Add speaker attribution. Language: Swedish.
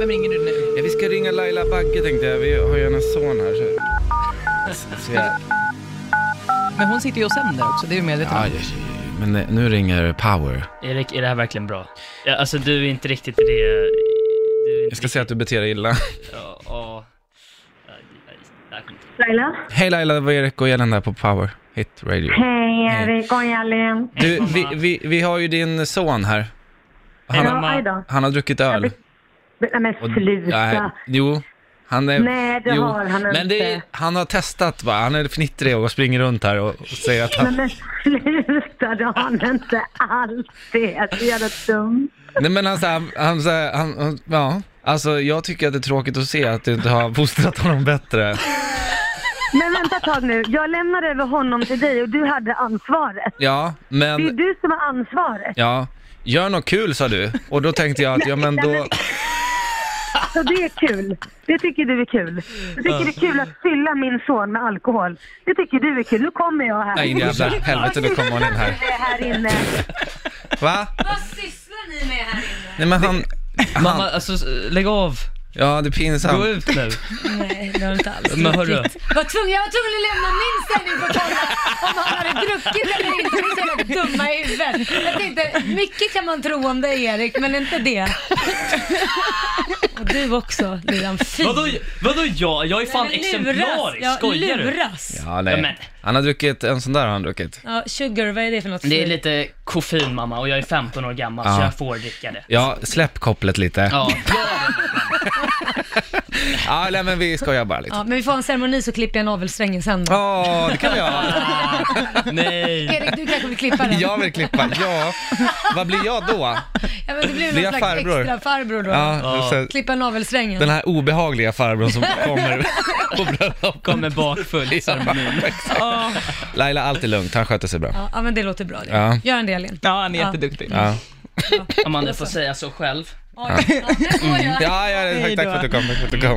Speaker 1: Vem ringer du nu?
Speaker 2: Ja, vi ska ringa Laila Bagge tänkte jag. Vi har ju hennes son här. Så... Så jag...
Speaker 1: Men hon sitter ju och sänder också, det är du medveten
Speaker 2: Ja,
Speaker 1: om.
Speaker 2: ja, ja, men nej, nu ringer Power.
Speaker 3: Erik, är det här verkligen bra? Ja, alltså du är inte riktigt i det... Du är inte
Speaker 2: Jag ska säga att du beter dig illa.
Speaker 3: riktigt- Ja, ja. Nej, nej, det här kommer inte-
Speaker 4: Laila?
Speaker 2: Hej Laila, det var Erik och Elin där på Power Hit Radio.
Speaker 4: Hej
Speaker 2: Hej.
Speaker 4: Erik och Elin.
Speaker 2: Du, vi, vi, vi har ju din son här. Han,
Speaker 4: Ja,
Speaker 2: har-
Speaker 3: mamma.
Speaker 4: aj då.
Speaker 2: han har druckit öl.
Speaker 4: Nej men
Speaker 2: Och- Nej,
Speaker 4: sluta.
Speaker 2: jo. Han är,
Speaker 4: Nej, det
Speaker 2: jo.
Speaker 4: har han
Speaker 2: Men det är,
Speaker 4: inte.
Speaker 2: han har testat va? Han är fnittrig och springer runt här och, och säger att han...
Speaker 4: Nej men sluta, det har han inte alls det. Alltså, jävla dumt.
Speaker 2: Nej men han, så här, han, så här, han, han ja. Alltså jag tycker att det är tråkigt att se att du inte har fostrat honom bättre.
Speaker 4: Men vänta ett tag nu, jag lämnar över honom till dig och du hade ansvaret.
Speaker 2: Ja,
Speaker 4: Det är
Speaker 2: men,
Speaker 4: du som har ansvaret.
Speaker 2: ja. Gör något kul sa du. Och då tänkte jag att, ja men då...
Speaker 4: Så det är kul. Det tycker du är kul. Du tycker det är kul att fylla min son med alkohol. Det tycker du är kul. Nu kommer jag här.
Speaker 2: Nej, in i jävla helvete, nu kommer hon in här.
Speaker 4: Jag är här inne.
Speaker 2: Va?
Speaker 5: Vad sysslar ni med här inne?
Speaker 2: Nej men han...
Speaker 3: Mamma,
Speaker 2: han
Speaker 3: alltså s- lägg av!
Speaker 2: ja, det är pinsamt.
Speaker 3: Gå ut nu!
Speaker 5: Nej, det har inte alls
Speaker 3: Men hörru,
Speaker 5: var tvungen, Jag var tvungen att lämna min ställning för att kolla om han hade druckit eller inte. Ni är så jävla dumma i huvudet. Jag tänkte, mycket kan man tro om dig Erik, men inte det. Och du också, lillan fin.
Speaker 3: vadå, vadå jag? Jag är fan
Speaker 5: Nej, men
Speaker 3: exemplarisk,
Speaker 5: luras. Ja,
Speaker 3: skojar du?
Speaker 5: luras.
Speaker 2: Ja,
Speaker 3: Ja,
Speaker 2: nej.
Speaker 3: men-
Speaker 2: Han har druckit, en sån där har han druckit.
Speaker 5: Ja, sugar, vad är det för något?
Speaker 3: Det är lite koffein mamma och jag är 15 år gammal
Speaker 2: Ja.
Speaker 3: så jag får dricka det.
Speaker 2: Ja, släpp kopplet lite. Ja,
Speaker 3: Ja,
Speaker 2: nej, men vi skojar bara lite.
Speaker 5: Ja, men vi får ha en ceremoni så klipper jag navelsträngen sen då.
Speaker 2: Ja, det kan vi göra.
Speaker 3: Ah, nej.
Speaker 5: Erik, du kanske vill klippa den?
Speaker 2: Jag vill klippa, ja. Vad blir jag då?
Speaker 5: Ja, men det blir
Speaker 2: Blir
Speaker 5: någon
Speaker 2: jag
Speaker 5: slags
Speaker 2: farbror?
Speaker 5: extra farbror då.
Speaker 2: Ja, så,
Speaker 5: Klippa navelsträngen.
Speaker 2: den här obehagliga farbrorn som kommer på bröllop.
Speaker 3: Kommer bakfull i ceremonin.
Speaker 5: Ja.
Speaker 2: Laila, allt är lugnt, han sköter sig bra.
Speaker 5: Ja, ja, men det låter bra det.
Speaker 2: Ja.
Speaker 5: Gör en del Elin.
Speaker 1: Ja, han är jätteduktig.
Speaker 2: Ja,
Speaker 3: Amanda får säga så själv.
Speaker 5: Ja, det får jag.
Speaker 2: ja, ja tack, tack för att du kom. För att du kom.